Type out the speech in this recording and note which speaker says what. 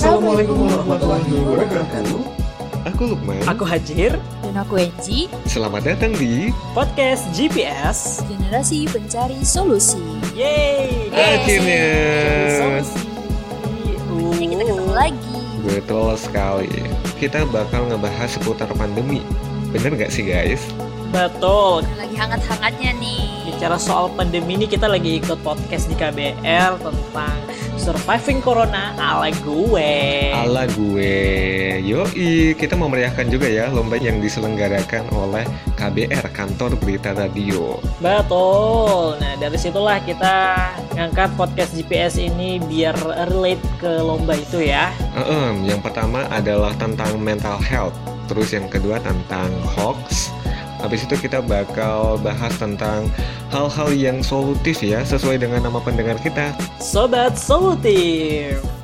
Speaker 1: Assalamualaikum warahmatullahi wabarakatuh.
Speaker 2: Aku Lukman.
Speaker 3: Aku Hajir,
Speaker 4: Dan aku Enci,
Speaker 2: Selamat datang di
Speaker 3: podcast GPS.
Speaker 4: generasi pencari solusi.
Speaker 3: Yeay!
Speaker 4: Yeay.
Speaker 2: akhirnya.
Speaker 4: Akhirnya kita ketemu lagi.
Speaker 2: Betul sekali. Kita bakal ngebahas seputar pandemi. Bener nggak sih guys?
Speaker 3: Betul.
Speaker 4: Lagi hangat-hangatnya nih.
Speaker 3: Bicara soal pandemi ini kita lagi ikut podcast di KBR tentang surviving corona ala gue.
Speaker 2: Ala gue. Yoi, kita memeriahkan juga ya lomba yang diselenggarakan oleh KBR Kantor Berita Radio.
Speaker 3: Betul. Nah, dari situlah kita ngangkat podcast GPS ini biar relate ke lomba itu ya.
Speaker 2: Ehem, yang pertama adalah tentang mental health. Terus yang kedua tentang hoax. Habis itu kita bakal bahas tentang hal-hal yang solutif ya sesuai dengan nama pendengar kita
Speaker 3: Sobat Solutif.